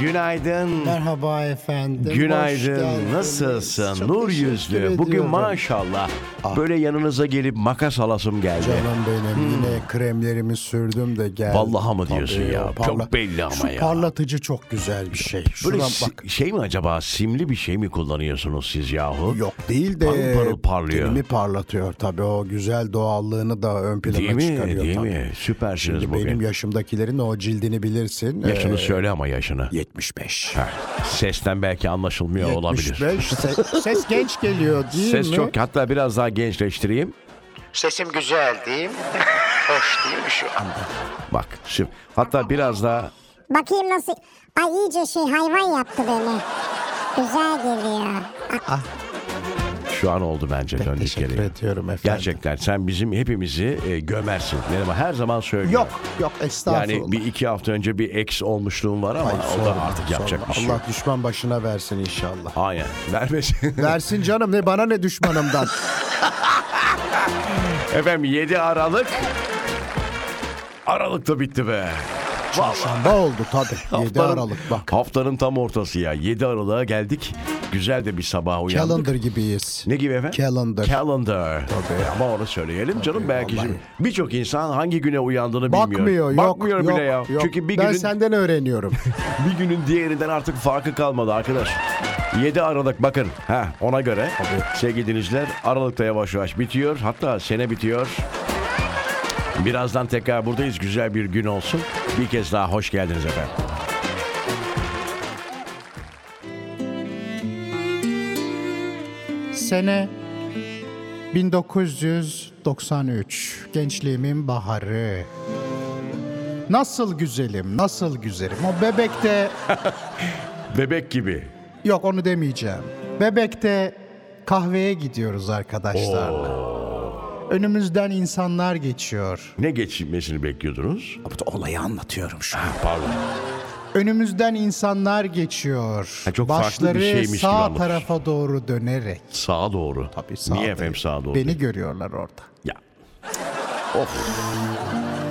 Günaydın. Merhaba efendim. hoş Günaydın. geldiniz. Nasılsın? Çok Nur teşekkür yüzlü. ediyorum. Ah. Bugün maşallah böyle yanınıza gelip makas alasım geldi. Canım benim yine kremlerimi sürdüm de geldim. Vallahi Hmm. mı diyorsun ya? o Çok belli ama Şu ya. parlatıcı çok güzel bir şey. Şuna Böyle bak. si- şey mi acaba simli bir şey mi kullanıyorsunuz siz yahu? Yok değil de Parıl parıl parlıyor. Dilimi parlatıyor tabii o güzel doğallığını da ön plana Değil mi? çıkarıyor Değil tabii. mi? Süpersiniz Şimdi bugün. benim yaşımdakilerin o cildini bilirsin. Yaşını Ee, söyle ama yaşını. 75. Heh, Sesten belki anlaşılmıyor olabilir. 75 se- ses genç geliyor değil mi? Ses çok hatta biraz daha gençleştireyim. Sesim güzel değil mi? Hoş değil mi şu an? Bak şimdi hatta biraz daha Bakayım nasıl... Ay iyice şey hayvan yaptı beni. Güzel geliyor. şu an oldu bence döndük Teşekkür geriye. ediyorum efendim. Gerçekten sen bizim hepimizi e, gömersin. Benim her zaman söylüyorum. Yok yok estağfurullah. Yani bir iki hafta önce bir ex olmuşluğum var ama Ay, o sorma, da artık sorma. yapacak bir şey Allah yok. düşman başına versin inşallah. Aynen. Vermesin. Versin canım ne bana ne düşmanımdan. Efendim 7 Aralık. Aralık da bitti be. Vallahi. Çarşamba oldu tabii. 7 Aralık bak. Haftanın tam ortası ya. 7 Aralık'a geldik. Güzel de bir sabah uyandık. Calendar gibiyiz. Ne gibi efendim? Calendar. Calendar. E, Tabii. Ama onu söyleyelim canım belki vallahi. şimdi birçok insan hangi güne uyandığını Bakmıyor bilmiyor. yok. Bakmıyor yok, bile ya. yok. Çünkü bir ben günün senden öğreniyorum. bir günün diğerinden artık farkı kalmadı arkadaş. 7 Aralık bakın. Ha ona göre sevgili dinleyiciler Aralık'ta yavaş yavaş bitiyor. Hatta sene bitiyor. Birazdan tekrar buradayız. Güzel bir gün olsun. Bir kez daha hoş geldiniz efendim. Sene 1993. Gençliğimin baharı. Nasıl güzelim, nasıl güzelim. O bebekte Bebek gibi. Yok onu demeyeceğim. Bebek'te kahveye gidiyoruz arkadaşlarla. Önümüzden insanlar geçiyor. Ne geçmesini bekliyordunuz? Olayı anlatıyorum şu an. Pardon. Önümüzden insanlar geçiyor. Ha, çok farklı bir Başları şeymiş gibi sağ anlatıyorsun. tarafa doğru dönerek. Sağa doğru. Tabii Niye efendim sağa doğru? Beni görüyorlar orada. Ya.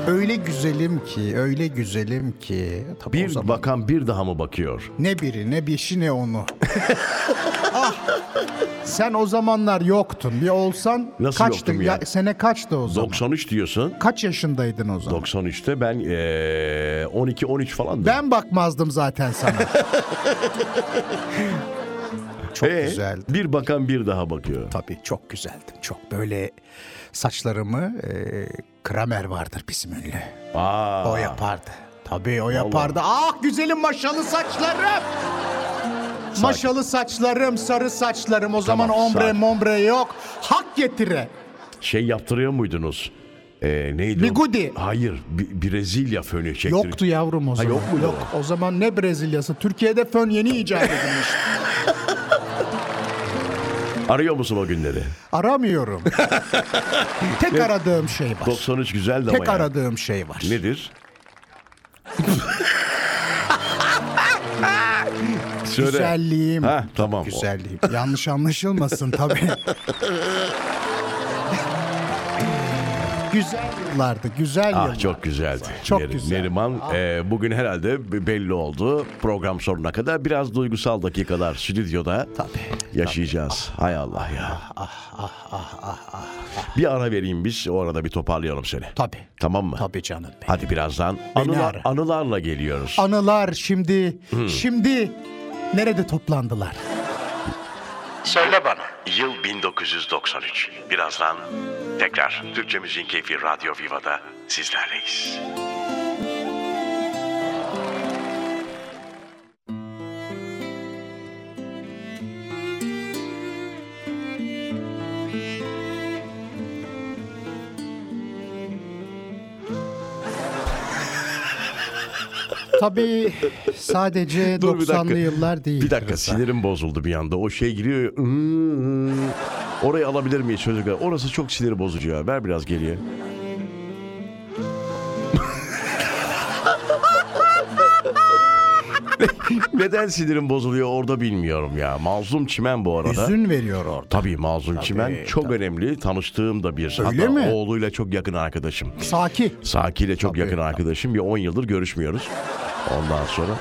Öyle güzelim ki, öyle güzelim ki. Tabii o Bir zaman bakan bir daha mı bakıyor? Ne biri, ne bir işi, ne onu. ah, sen o zamanlar yoktun. Bir olsan Nasıl kaçtın. yoktum ya? sene kaçtı o zaman? 93 diyorsun. Kaç yaşındaydın o zaman? 93'te ben eee 12-13 falan. Ben bakmazdım zaten sana. çok Ee, güzeldi. Bir bakan bir daha bakıyor. Tabii çok güzeldim. Çok böyle saçlarımı e, Kramer vardır bizim ünlü. Aa. O yapardı. Tabii o yapardı. Ah güzelim maşalı saçlarım. Maşalı saçlarım, sarı saçlarım. O zaman ombre sakin. mombre yok. Hak getire. Şey yaptırıyor muydunuz? Ee, neydi o? Bigudi. Hayır. Bi- Brezilya fönü çektir. Yoktu yavrum o zaman. yok muydu Yok. O zaman ne Brezilyası? Türkiye'de fön yeni icat edilmiş. Arıyor musun o günleri? Aramıyorum. Tek aradığım şey var. 93 güzel de ama Tek ya. aradığım şey var. Nedir? Söyle. Güzelliğim. Ha, tamam. Güzelliğim. Yanlış anlaşılmasın tabii. güzel yıllardı. Güzel Ah yıllar. çok güzeldi. Çok Neri- güzel. Neriman e, bugün herhalde b- belli oldu. Program sonuna kadar biraz duygusal dakikalar stüdyoda yaşayacağız. Hay Allah ya. Ah, Bir ara vereyim biz orada bir toparlayalım seni. Tabii. Tamam mı? Tabii canım benim. Hadi birazdan Beni anılar, ara. anılarla geliyoruz. Anılar şimdi. Hmm. Şimdi nerede toplandılar? Söyle bana. Yıl 1993. Birazdan tekrar Türkçe Müziğin Keyfi Radyo Viva'da sizlerleyiz. Tabii sadece Dur bir 90'lı dakika. yıllar değil. Bir dakika Rıza. sinirim bozuldu bir anda. O şey giriyor. "Hmm." Orayı alabilir miyiz çocuklar? Orası çok sinir bozucu ya. Ver biraz geriye. Neden sinirim bozuluyor orada bilmiyorum ya. Mazlum Çimen bu arada. Üzün veriyor orada. Tabii Mazlum Çimen çok önemli. Tanıştığım da bir. Öyle hatta mi? oğluyla çok yakın arkadaşım. Saki. Saki'yle çok Tabii, yakın tabii. arkadaşım. Bir 10 yıldır görüşmüyoruz. Ondan sonra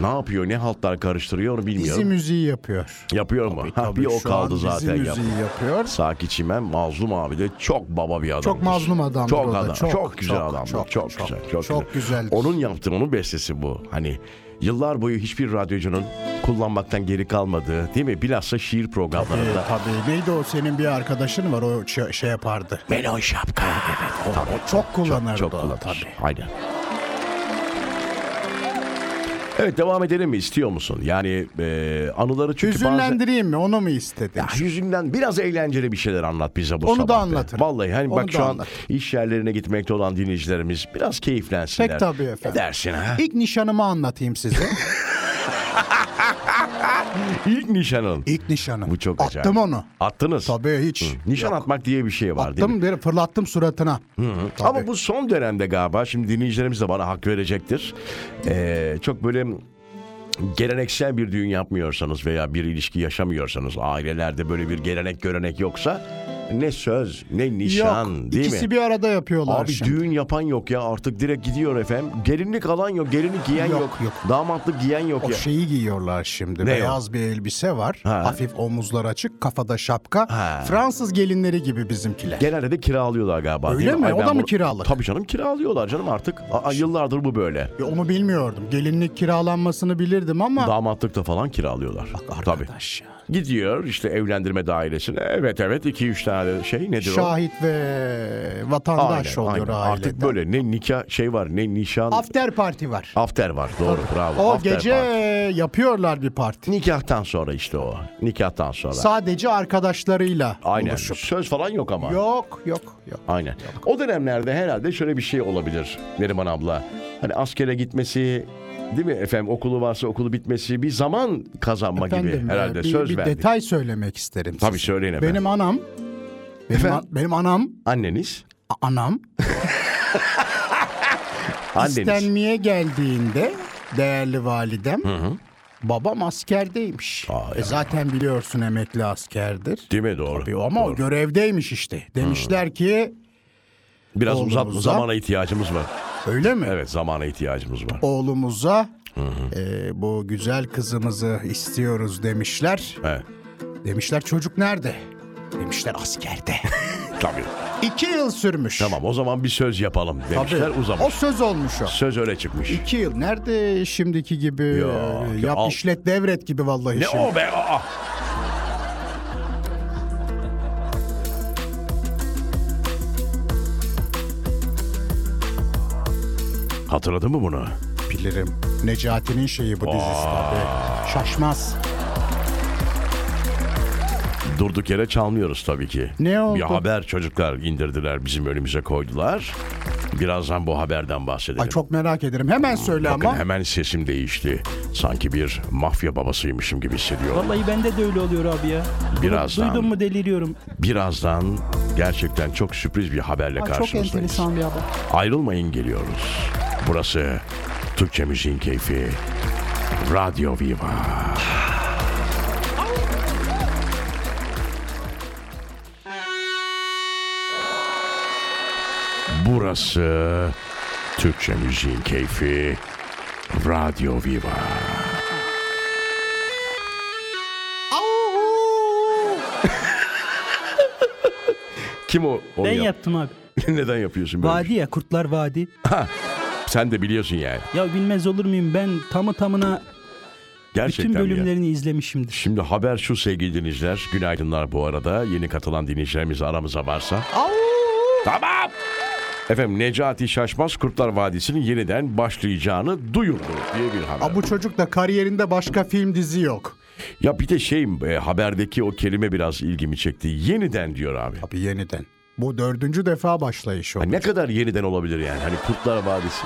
Ne yapıyor, ne haltlar karıştırıyor onu bilmiyorum. Dizi müziği yapıyor. Yapıyor mu? ha, Tabii Ah, bir o şu kaldı an zaten. Dizi ya. müziği yapıyor. Saki Çimen mazlum abi de çok baba bir adam. Çok mazlum adamdır Çok o da, adam. Çok, çok, güzel çok, adamdır. Çok, çok, çok, güzel. Çok, çok güzeldir. Onun yaptığı onun bestesi bu. Hani yıllar boyu hiçbir radyocunun kullanmaktan geri kalmadığı değil mi? Bilhassa şiir Ee, programlarında. tabii neydi o senin bir arkadaşın var o şey, şey yapardı. Melon şapka. Evet, o, O çok kullanırdı çok o, kullanır. tabii. Aynen. Evet devam edelim mi? İstiyor musun? Yani e, anıları çünkü bazen... Hüzünlendireyim mi onu mu istedin? Ya yüzünden biraz eğlenceli bir şeyler anlat bize bu Onu da sabah. be. anlatırım. Vallahi hani Onu bak da şu an anlatırım. iş yerlerine gitmekte olan dinleyicilerimiz biraz keyiflensinler. Pek tabii efendim. Ne dersin ha? İlk nişanımı anlatayım size. İlk nişanın. İlk nişanım. Bu çok Attım acayip. onu. Attınız. Tabii hiç. Nişan atmak diye bir şey var değil mi? Attım bir fırlattım suratına. Tabii. Ama bu son dönemde galiba şimdi dinleyicilerimiz de bana hak verecektir. Ee, çok böyle geleneksel bir düğün yapmıyorsanız veya bir ilişki yaşamıyorsanız ailelerde böyle bir gelenek görenek yoksa ne söz ne nişan Yok, değil mi? ikisi bir arada yapıyorlar Abi şimdi. düğün yapan yok ya artık direkt gidiyor efendim. Gelinlik alan yok, gelinlik giyen yok. Yok, yok. Damatlık giyen yok O şey- ya. şeyi giyiyorlar şimdi. Ne Beyaz bir elbise var. Ha. Hafif omuzlar açık, kafada şapka. Ha. Fransız gelinleri gibi bizimkiler. Genelde de kiralıyorlar galiba. Öyle değil mi? Ay O ben da mı bunu- kiralık? Tabii canım kiralıyorlar canım artık. Aa, yıllardır bu böyle. Ya Onu bilmiyordum. Gelinlik kiralanmasını bilirdim ama Damatlık da falan kiralıyorlar. Tabii. arkadaş ya. Gidiyor işte evlendirme dairesine. Evet evet 2-3 tane şey nedir o? Şahit ve vatandaş Aynen, oluyor aynen. aileden. Artık böyle ne nikah şey var ne nişan. After party var. After var doğru bravo. O After gece var. yapıyorlar bir parti. Nikahtan sonra işte o. Nikahtan sonra. Sadece arkadaşlarıyla Aynen. buluşup. Söz falan yok ama. Yok yok yok. Aynen. O dönemlerde herhalde şöyle bir şey olabilir Neriman abla. Hani askere gitmesi değil mi efendim okulu varsa okulu bitmesi bir zaman kazanma Efendim, gibi e, herhalde bir, söz bir verdik. detay söylemek isterim Tabii size. söyleyin efendim. Benim anam benim, Efendim? an- benim anam Anneniz, a- anam anneniz. istenmeye geldiğinde değerli validem babam askerdeymiş. Aa, e zaten biliyorsun emekli askerdir. Değil mi doğru? Tabii ama o Doğru. görevdeymiş işte. Demişler ki Biraz Oğlum, uzat, uzat. zamana ihtiyacımız var. öyle mi? Evet zamana ihtiyacımız var. Oğlumuza e, bu güzel kızımızı istiyoruz demişler. Evet. Demişler çocuk nerede? Demişler askerde. Tabii. İki yıl sürmüş. Tamam o zaman bir söz yapalım demişler Tabii. uzamış. O söz olmuş o. Söz öyle çıkmış. İki yıl. Nerede şimdiki gibi Yok, e, yap al. işlet devret gibi vallahi Ne şimdi. o be? Aa. Hatırladın mı bunu? Bilirim. Necati'nin şeyi bu dizisi tabii. Şaşmaz. Durduk yere çalmıyoruz tabii ki. Ne oldu? Bir haber çocuklar indirdiler bizim önümüze koydular. Birazdan bu haberden bahsedelim. Ay çok merak ederim. Hemen söyle Hmm, Bakın ama. hemen sesim değişti. Sanki bir mafya babasıymışım gibi hissediyorum. Vallahi bende de öyle oluyor abi ya. Birazdan. Duydun mu deliriyorum. Birazdan gerçekten çok sürpriz bir haberle Ay, çok karşınızdayız. enteresan bir haber. Ayrılmayın geliyoruz. Burası Türkçe Müziğin Keyfi. Radyo Viva. Burası Türkçe Müziğin Keyfi. Radyo Viva. Kim o? Onu Ben yap- yaptım abi. Neden yapıyorsun böyle? bir Vadi ya Kurtlar Vadi. şey? Sen de biliyorsun yani. Ya bilmez olur muyum ben tamı tamına Gerçekten bütün mi ya? bölümlerini izlemişimdir. Şimdi haber şu sevgili dinleyiciler. Günaydınlar bu arada. Yeni katılan dinleyicilerimiz aramıza varsa. Tamam. Efendim Necati Şaşmaz Kurtlar Vadisi'nin yeniden başlayacağını duyurdu diye bir haber. Aa, bu çocuk da kariyerinde başka film dizi yok. Ya bir de şey e, haberdeki o kelime biraz ilgimi çekti. Yeniden diyor abi. Tabii yeniden. Bu dördüncü defa başlayış o. Ha, ne kadar yeniden olabilir yani? Hani Kurtlar Vadisi.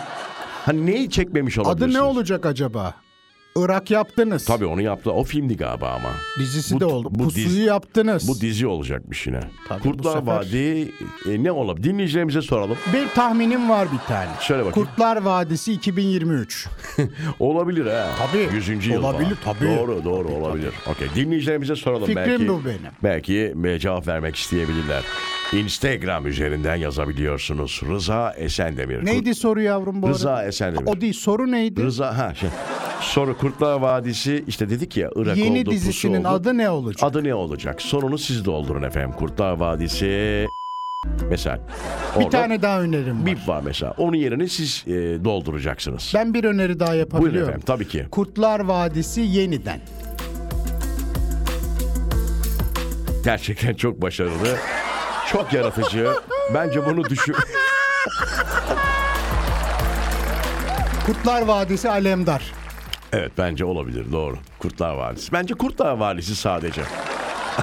hani neyi çekmemiş Adı olabilirsiniz? ne olacak acaba? Irak yaptınız. Tabii onu yaptı. O filmdi galiba ama. Dizisi Bu- de oldu. bu Pusuyu diz- yaptınız. Bu dizi olacakmış yine. Tabii bu Kurtlar sefer- Vadisi e, ne olabilir? Dinleyicilerimize soralım. bir tahminim var bir tane. Söyle bakayım. Kurtlar Vadisi 2023. Olabilir ha. Tabii. 100. yıl Olabilir, falan. tabii. Doğru doğru olabilir. Okey. Dinleyicilerimize soralım Fikrim belki. bu benim. Belki e, cevap vermek isteyebilirler. Instagram üzerinden yazabiliyorsunuz. Rıza Esendemir. Neydi soru yavrum bu Rıza arada? Esenli mi? O değil soru neydi? Rıza ha. Şey. Soru Kurtlar Vadisi işte dedik ya Irak oldu. Yeni pusu dizisinin oldu. adı ne olacak? Adı ne olacak? Sorunu siz doldurun efendim. Kurtlar Vadisi mesela. bir Orada tane daha önerim var. bip var mesela. Onun yerini siz e, dolduracaksınız. Ben bir öneri daha Buyurun yapabiliyorum. efendim tabii ki. Kurtlar Vadisi yeniden. Gerçekten çok başarılı. Çok yaratıcı. Bence bunu düşün... Kurtlar Vadisi Alemdar. Evet bence olabilir doğru. Kurtlar Valisi. Bence Kurtlar Valisi sadece.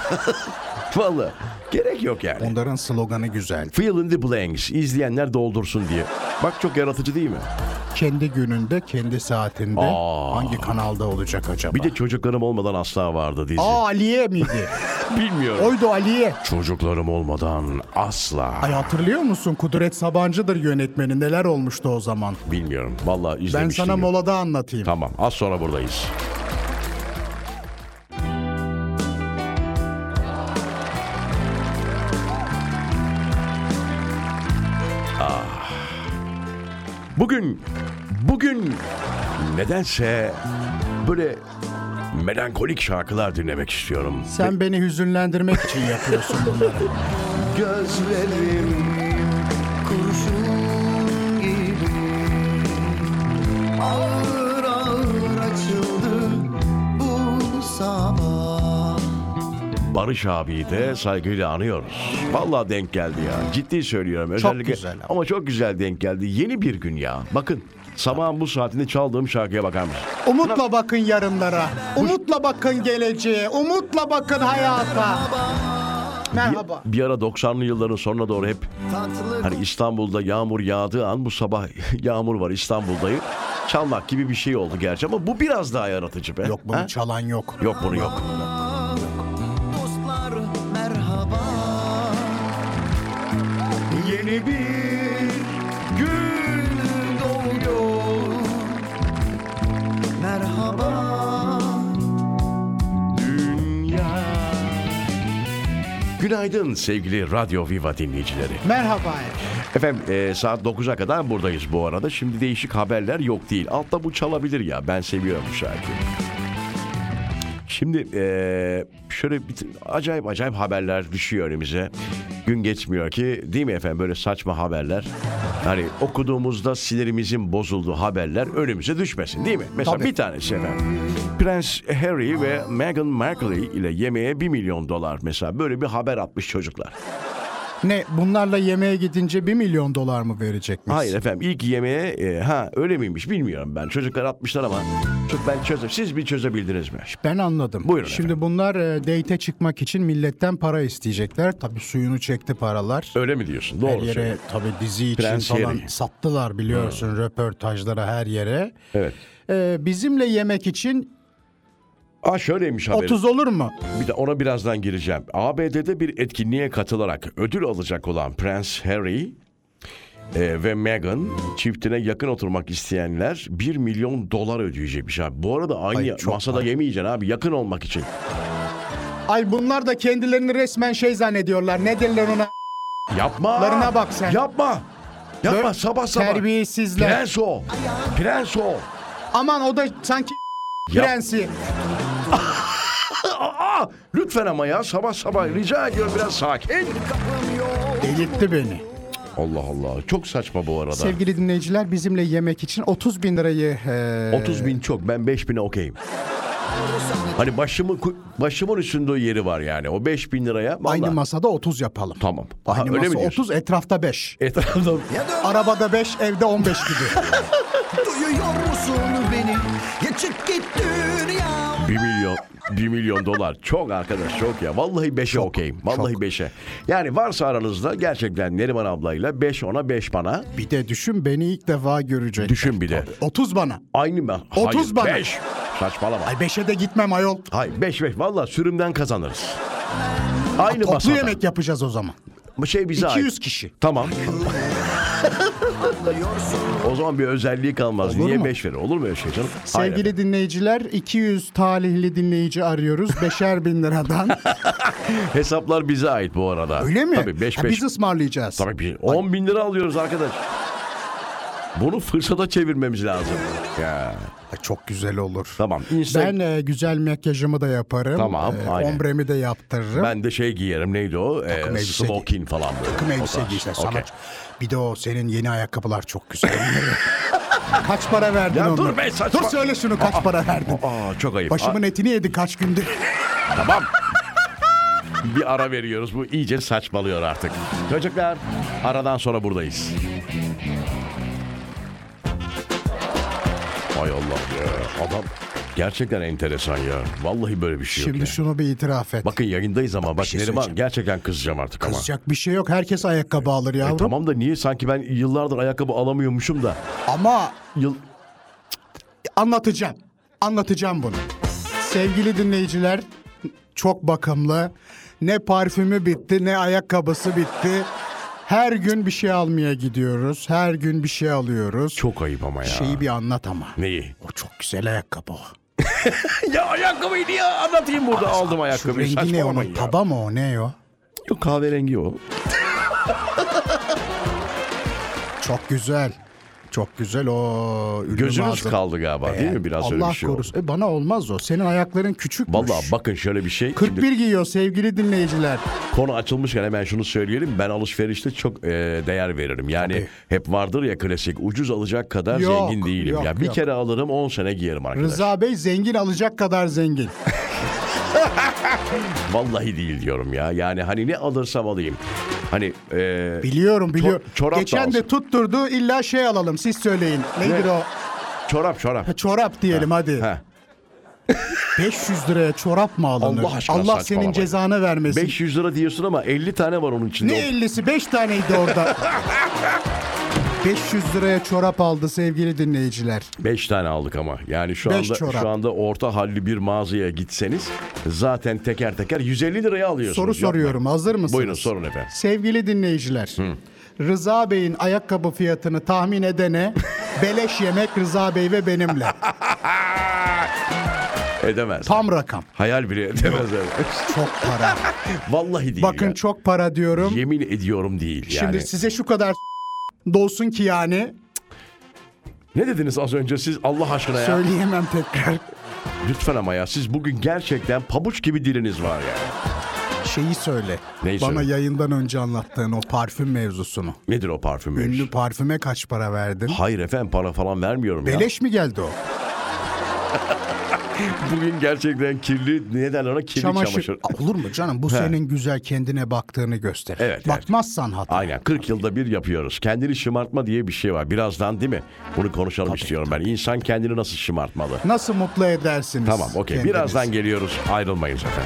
Vallahi gerek yok yani. Onların sloganı güzel. Fill in the blanks. izleyenler doldursun diye. Bak çok yaratıcı değil mi? Kendi gününde, kendi saatinde Aa. hangi kanalda olacak acaba? Bir de çocuklarım olmadan asla vardı dizi. Aa Aliye miydi? Şey- Bilmiyorum. Oydu Aliye. Çocuklarım olmadan asla. Ay hatırlıyor musun? Kudret Sabancı'dır yönetmeni. Neler olmuştu o zaman? Bilmiyorum. Vallahi Ben izlemiştim. sana şey yok. molada anlatayım. Tamam az sonra buradayız. Ah. Bugün, bugün nedense böyle melankolik şarkılar dinlemek istiyorum. Sen beni hüzünlendirmek için yapıyorsun bunları. Gözlerim kurşun gibi Ağır ağır açıldı bu sabah Barış abiyi de saygıyla anıyoruz. Vallahi denk geldi ya. Ciddi söylüyorum. Özellikle, güzel ama. Ama çok güzel denk geldi. Yeni bir gün ya. Bakın sabahın bu saatinde çaldığım şarkıya bakar mısın? Umutla bakın yarınlara. Umutla bakın geleceğe. Umutla bakın hayata. Merhaba. Bir ara 90'lı yılların sonuna doğru hep tatlı hani İstanbul'da yağmur yağdığı an bu sabah yağmur var İstanbul'dayım. Çalmak gibi bir şey oldu gerçi ama bu biraz daha yaratıcı be. Yok bunu Ha? çalan yok. Yok bunu yok. dostlar merhaba Yeni bir Gün doğuyor merhaba dünya. Günaydın sevgili Radyo Viva dinleyicileri. Merhaba. Efendim e, saat 9'a kadar buradayız bu arada. Şimdi değişik haberler yok değil. Altta bu çalabilir ya. Ben seviyorum bu şarkıyı. Şimdi e, şöyle bir, acayip acayip haberler düşüyor önümüze. Gün geçmiyor ki değil mi efendim böyle saçma haberler. Hani okuduğumuzda sinirimizin bozulduğu haberler önümüze düşmesin değil mi? Mesela Tabii. bir tanesi efendim. Prens Harry ve Meghan Markle ile yemeğe 1 milyon dolar mesela böyle bir haber atmış çocuklar. Ne bunlarla yemeğe gidince 1 milyon dolar mı verecekmiş? Hayır efendim ilk yemeğe e, ha öyle miymiş bilmiyorum ben. Çocuklar atmışlar ama çok ben çözüm. Siz bir çözebildiniz mi? Ben anladım. Buyurun Şimdi efendim. bunlar e, date çıkmak için milletten para isteyecekler. Tabii suyunu çekti paralar. Öyle mi diyorsun? Her Doğru yere söylüyorsun. tabii dizi için Prens falan Harry. sattılar biliyorsun röportajlara her yere. Evet. E, bizimle yemek için Aa şöyleymiş haberim. 30 olur mu? Bir de ona birazdan gireceğim. ABD'de bir etkinliğe katılarak ödül alacak olan Prens Harry e, ve Meghan çiftine yakın oturmak isteyenler 1 milyon dolar ödeyecekmiş abi. Bu arada aynı Ay, çok masada yemeyeceksin abi yakın olmak için. Ay bunlar da kendilerini resmen şey zannediyorlar. Ne derler ona? Yapma. Larına bak sen. Yapma. Yapma Böyle sabah sabah. terbiyesizler. Prens o. Prens o. Aman o da sanki Yap- prensi. Aa, lütfen ama ya sabah sabah rica ediyorum biraz sakin. Delirtti beni. Allah Allah çok saçma bu arada. Sevgili dinleyiciler bizimle yemek için 30 bin lirayı e, 30 bin çok ben 5 bine okeyim. Hani başımın ku- başımın üstünde yeri var yani o 5 bin liraya. Vallahi. aynı masada 30 yapalım. Tamam. Aha, Aynı öyle mi masa diyorsun? 30 etrafta 5. Etrafta Arabada 5 evde 15 gibi. Duyuyor musun beni? Ya çık git dünya. 1 milyon 1 milyon dolar çok arkadaş çok ya. Vallahi 5'e okeyim. Vallahi 5'e. Yani varsa aranızda gerçekten Neriman ablayla 5 ona 5 bana. bir de düşün beni ilk defa görecek. Düşün bir de. 30 bana. Aynı mı? 30 bana. 5. Saçmalama. Ay 5'e de gitmem ayol. Hayır 5 5 valla sürümden kazanırız. Aynı Toplu masada. yemek yapacağız o zaman. Bu şey bize 200 ait. kişi. Tamam. o zaman bir özelliği kalmaz. Olur Niye mu? 5 verir? Olur mu öyle şey canım? Hayır Sevgili efendim. dinleyiciler 200 talihli dinleyici arıyoruz. Beşer bin liradan. Hesaplar bize ait bu arada. Öyle mi? Tabii 5 Ha, 5. Biz ısmarlayacağız. Tabii bir 10 bin lira alıyoruz arkadaş. Bunu fırsata çevirmemiz lazım. Ya. Ay, Çok güzel olur. Tamam. Insta- Ben e, güzel makyajımı da yaparım. Tamam, E, aynen. ombremi de yaptırırım. Ben de şey giyerim neydi o? Ee, Takım elbise giy- smoking falan böyle. Takım elbise O tarz. giysen Okey. sanatçı. Bir de o senin yeni ayakkabılar çok güzel. kaç para verdin Ya onu? dur be, saçma- Dur söyle şunu kaç para verdin? Aa çok ayıp. Başımın Aa, etini yedi kaç gündür. tamam. Bir ara veriyoruz. Bu iyice saçmalıyor artık. Çocuklar aradan sonra buradayız. Hay Allah ya. Adam gerçekten enteresan ya. Vallahi böyle bir şey yok Şimdi ya. şunu bir itiraf et. Bakın yayındayız ama bak şey Neriman söyleyeceğim. gerçekten kızacağım artık ama. Kızacak bir şey yok. Herkes ayakkabı alır yavrum. E, tamam da niye sanki ben yıllardır ayakkabı alamıyormuşum da. Ama Yıl... anlatacağım. Anlatacağım bunu. Sevgili dinleyiciler çok bakımlı. Ne parfümü bitti ne ayakkabısı bitti. Her gün bir şey almaya gidiyoruz. Her gün bir şey alıyoruz. Çok ayıp ama ya. Şeyi bir anlat ama. Neyi? O çok güzel ayakkabı o. Ya ayakkabıyı niye anlatayım burada aldım Şu ayakkabıyı. rengi ne Saçmalamayın onun? ya. Taba mı o ne o? Yok kahverengi o. Çok güzel. Çok güzel o. ünlü Gözünüz mağaza- kaldı gaba değil mi? Biraz Allah öyle bir şey oldu. korusun. E, bana olmaz o. Senin ayakların küçükmüş. Vallahi bakın şöyle bir şey. Şimdi 41 giyiyor sevgili dinleyiciler. Konu açılmışken hemen şunu söyleyelim. Ben alışverişte çok e, değer veririm. Yani hep vardır ya klasik ucuz alacak kadar Yok, zengin değilim. yok, ya bir yok. kere alırım 10 sene giyerim arkadaş. Rıza Bey zengin alacak kadar zengin. Vallahi değil diyorum ya. Yani hani ne alırsam alayım. Hani e, Biliyorum biliyorum. Çor- çorap da Geçen de alsın. tutturdu illa şey alalım siz söyleyin. Nedir Ne? o? çorap çorap. Ha, Çorap diyelim hadi. Ha. 500 liraya çorap mı alınır? Allah aşkına senin saçmalamayın. cezanı vermesin. 500 lira diyorsun ama 50 tane var onun içinde. Ne 50'si 5 taneydi orada. 500 liraya çorap aldı sevgili dinleyiciler. 5 tane aldık ama. Yani şu Beş anda çorap. şu anda orta halli bir mağazaya gitseniz zaten teker teker 150 liraya alıyorsunuz. Soru Yapma. soruyorum hazır mısınız? Buyurun sorun efendim. Sevgili dinleyiciler. Rıza Bey'in ayakkabı fiyatını tahmin edene beleş yemek Rıza Bey ve benimle. Edemez. Tam rakam. Hayal bile edemez. Çok para. Vallahi değil. Bakın ya. çok para diyorum. Yemin ediyorum değil yani. Şimdi size şu kadar dolsun ki yani Ne dediniz az önce siz Allah aşkına ya? söyleyemem tekrar. Lütfen ama ya siz bugün gerçekten pabuç gibi diliniz var ya. Şeyi söyle. Neyi Bana söyle? yayından önce anlattığın o parfüm mevzusunu. Nedir o parfüm? Ünlü parfüme kaç para verdin? Hayır efendim para falan vermiyorum ya. Beleş mi geldi o? Bugün gerçekten kirli ne derler ona kirli çamaşır. Çamaşır. Aa, Olur mu canım? Bu senin güzel kendine baktığını gösterir. Evet, evet. Bakmazsan hata. Aynen 40 yılda bir yapıyoruz. Kendini şımartma diye bir şey var. Birazdan değil mi? Bunu konuşalım istiyorum ben. İnsan kendini nasıl şımartmalı? Nasıl mutlu edersiniz? Tamam okey. kendinizi? Birazdan geliyoruz. Ayrılmayın zaten.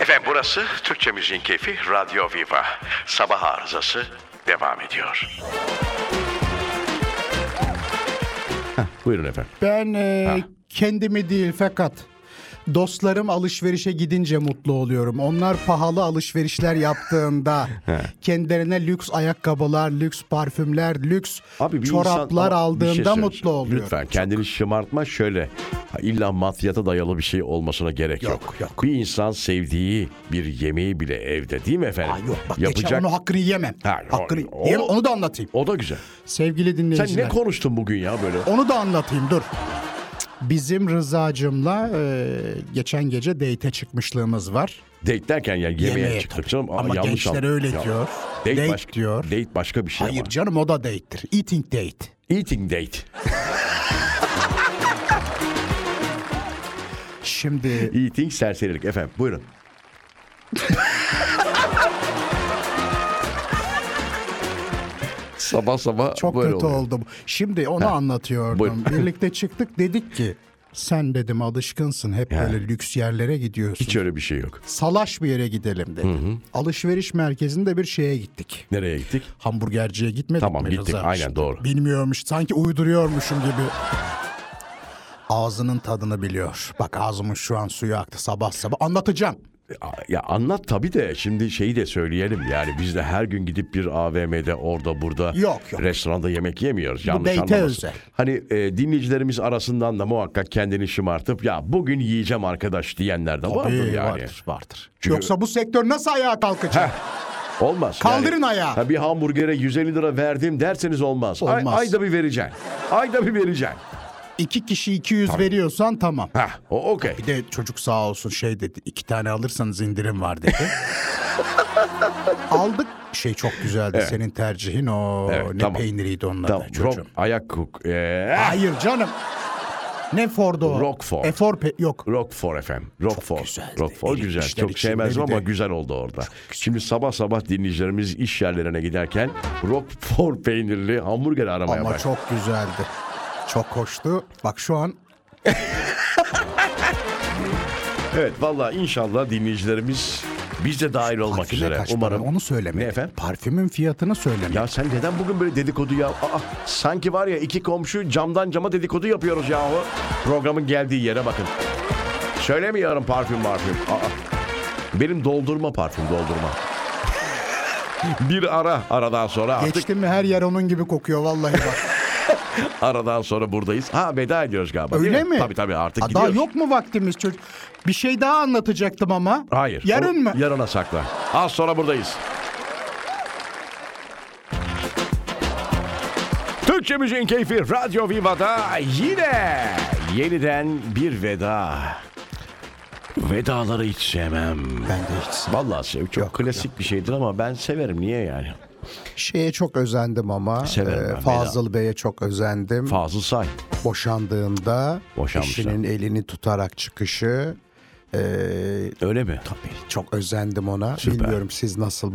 Efendim burası Türkçe Müziğin Keyfi Radyo Viva. Sabah arızası devam ediyor. Buyurun efendim. Ben e, kendimi değil fakat dostlarım alışverişe gidince mutlu oluyorum. Onlar pahalı alışverişler yaptığında kendilerine lüks ayakkabılar, lüks parfümler, lüks Abi bir çoraplar insan, ama bir şey aldığında söyleyeceğim. mutlu oluyorum. Lütfen kendini şımartma şöyle. Ha, İlla maddiyata dayalı bir şey olmasına gerek yok. Yok, yok. Bir insan sevdiği bir yemeği bile evde değil mi efendim? Aa, yok bak geçen Yapacak. onu hakkını yemem. Ha, o- hakkını o- yemem, onu da anlatayım. O da güzel. Sevgili Sen dinleyiciler. ne konuştun bugün ya böyle? Onu da anlatayım dur. Bizim Rızacım'la e, geçen gece date'e çıkmışlığımız var. Date derken yani yemeğe, Yemeğe çıktık tabii. canım. Aa, Ama yanlış gençler anladım. öyle Ya, diyor. Date, Date başka, diyor. Date başka bir şey Hayır ama. canım o da date'tir. Eating date. Eating date. Şimdi Eating serserilik efendim. Buyurun. sabah sabah çok böyle kötü oluyor. oldum. Şimdi onu anlatıyordum. Buyurun. Birlikte çıktık dedik ki sen dedim alışkınsın hep böyle lüks yerlere gidiyorsun. Hiç öyle bir şey yok. Salaş bir yere gidelim dedim. Alışveriş merkezinde bir şeye gittik. Nereye gittik? Hamburgerciye gitmedik Tamam, mi gittik. Rıza? Aynen, Şimdi doğru. Bilmiyormuş sanki uyduruyormuşum gibi. Ağzının tadını biliyor. Bak ağzımın şu an suyu aktı sabah sabah. Anlatacağım. Ya anlat tabii de şimdi şeyi de söyleyelim yani biz de her gün gidip bir AVM'de orada burada Yok, yok. restoranda yemek yemiyoruz. Yanlış Beyte anlamasın. özel. Hani e, dinleyicilerimiz arasından da muhakkak kendini şımartıp ya bugün yiyeceğim arkadaş diyenler de vardır yani. vardır, vardır. Çünkü- Yoksa bu sektör nasıl ayağa kalkacak? Olmaz. Kaldırın yani, ayağı. Ha, bir hamburgere 150 lira verdim derseniz olmaz. Ay- Olmaz. ayda bir vereceksin. Ayda bir vereceksin. İki kişi 200 veriyorsan tamam. Ha, o okey. Bir de çocuk sağ olsun şey dedi. iki tane alırsanız indirim var dedi. Aldık. Şey çok güzeldi. Senin tercihin o. Evet, ne tamam. peyniriydi onun Tamam, adı rock, çocuğum. ayak kuk. Ee, Hayır canım. Ne Ford'u o? Rockford. Efor pe- yok. Rockford efendim. Rockford. güzeldi. Rockford güzel. Eritmişler Çok içinde sevmezdim bir de. ama güzel oldu orada. Şimdi sabah sabah dinleyicilerimiz iş yerlerine giderken Rockford peynirli hamburger aramaya Ama başladı. çok güzeldi. Çok hoştu. Bak şu an Evet valla inşallah dinleyicilerimiz biz de dahil olmak parfüme üzere. kaç para Umarım. onu söyleme. Ne efendim? Parfümün fiyatını söyleme. Ya sen neden bugün böyle dedikodu ya? Aa, sanki var ya iki komşu camdan cama dedikodu yapıyoruz yahu. Programın geldiği yere bakın. Söylemiyorum parfüm parfüm. Aa, benim doldurma parfüm doldurma. Bir ara aradan sonra artık Geçtim mi her yer onun gibi kokuyor vallahi bak. aradan sonra buradayız. Ha veda ediyoruz galiba. değil Öyle mi? Tabii tabii artık Ha, Daha gidiyoruz. yok mu vaktimiz çocuk? Bir şey daha anlatacaktım ama. Hayır. Yarın Onu mı? Yarına sakla. Az sonra buradayız. Türkçe Müziğin Keyfi Radyo Viva'da yine yeniden bir veda. Vedaları hiç sevmem. Ben de hiç. Vallahi sev, çok klasik bir şeydir ama ben severim. Niye yani? Şeye çok özendim ama. Severim e, ben Fazıl Bey'e çok özendim. Fazıl Say. Boşandığında Boşanmışlar. eşinin elini tutarak çıkışı. e, Öyle mi? çok özendim ona. Bilmiyorum siz nasıl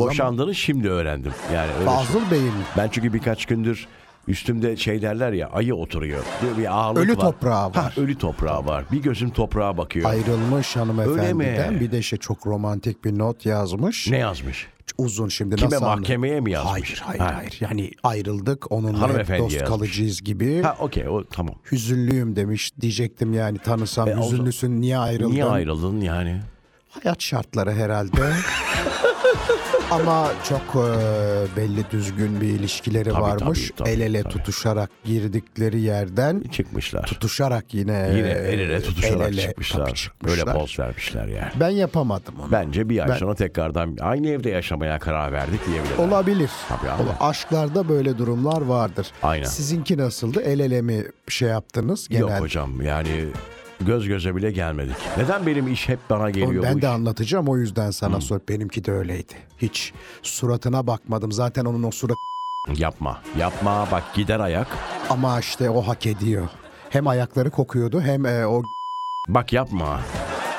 ben boşandığını şimdi öğrendim. Yani öyle ama. Fazıl Bey'in Ben çünkü birkaç gündür üstümde şey derler ya ayı oturuyor. Bir, bir ağırlık Ölü var. toprağı var. Ha, ölü toprağı var. Bir gözüm toprağa bakıyor. ayrılmış mi? hanımefendiden bir de şey çok romantik bir not yazmış. Ne yazmış? Uzun şimdi Kime nasıl anla- mahkemeye mi yazmış? Hayır hayır Ha. hayır. Yani ayrıldık onunla hep Hanımefendiye dost yazmış. kalıcıyız gibi. Ha okey o tamam. Hüzünlüyüm demiş diyecektim yani tanısam E, o- hüzünlüsün niye ayrıldın? Niye ayrıldın yani? Hayat şartları herhalde. Ama çok e, belli düzgün bir ilişkileri Tabii, varmış. tabii, tabii, el ele tabii. tutuşarak girdikleri yerden Çıkmışlar. tutuşarak yine Yine el ele tutuşarak Ee, el ele, çıkmışlar. tabii çıkmışlar. Öyle poz vermişler yani. Ben yapamadım onu. Bence bir ay Ben- sonra tekrardan aynı evde yaşamaya karar verdik diyebilirler. Olabilir. Tabii abi. Ola- Aşklarda böyle durumlar vardır. Aynen. Sizinki nasıldı? El ele mi şey yaptınız genel? Yok hocam yani göz göze bile gelmedik. Neden benim iş hep bana Onu geliyor? bu ben iş? Hmm. de anlatacağım o yüzden sana sor. Benimki de öyleydi. Hiç suratına bakmadım. Zaten onun o surat Yapma. Yapma bak gider ayak. ama işte o hak ediyor. Hem ayakları kokuyordu hem e, o Bak yapma.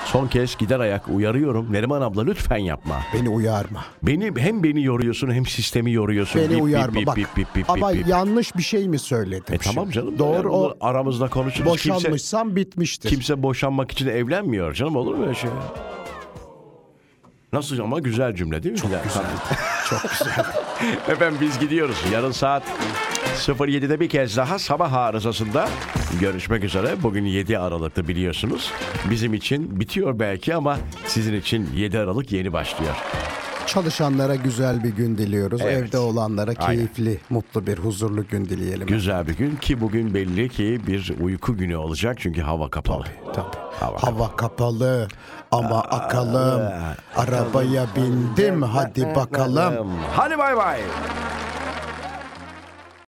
Son kez gider ayak uyarıyorum. Neriman abla lütfen yapma. beni uyarma. Beni hem beni yoruyorsun hem sistemi yoruyorsun. Beni Bip, bip, uyarma bip, bak. bip, bip, bip, ama bip, bip. yanlış bir şey mi söyledim? E tamam şimdi? canım. Doğru Bunlar o aramızda konuşuruz. Kimse, boşanmışsam bitmiştir. kimse boşanmak için evlenmiyor canım olur mu öyle şey? Nasıl ama güzel cümle değil mi? Çok güzel. Çok güzel. Efendim biz gidiyoruz. Yarın saat 07'de bir kez daha sabah arızasında görüşmek üzere. Bugün 7 Aralık'ta biliyorsunuz. Bizim için bitiyor belki ama sizin için 7 Aralık yeni başlıyor. Çalışanlara güzel bir gün diliyoruz. Evet. Evde olanlara Aynen. keyifli, mutlu bir huzurlu gün dileyelim. Güzel bir gün ki bugün belli ki bir uyku günü olacak çünkü hava kapalı. Tabii. Hava Hava, kapalı ama akalım. Arabaya bindim hadi bakalım. Hadi bay bay.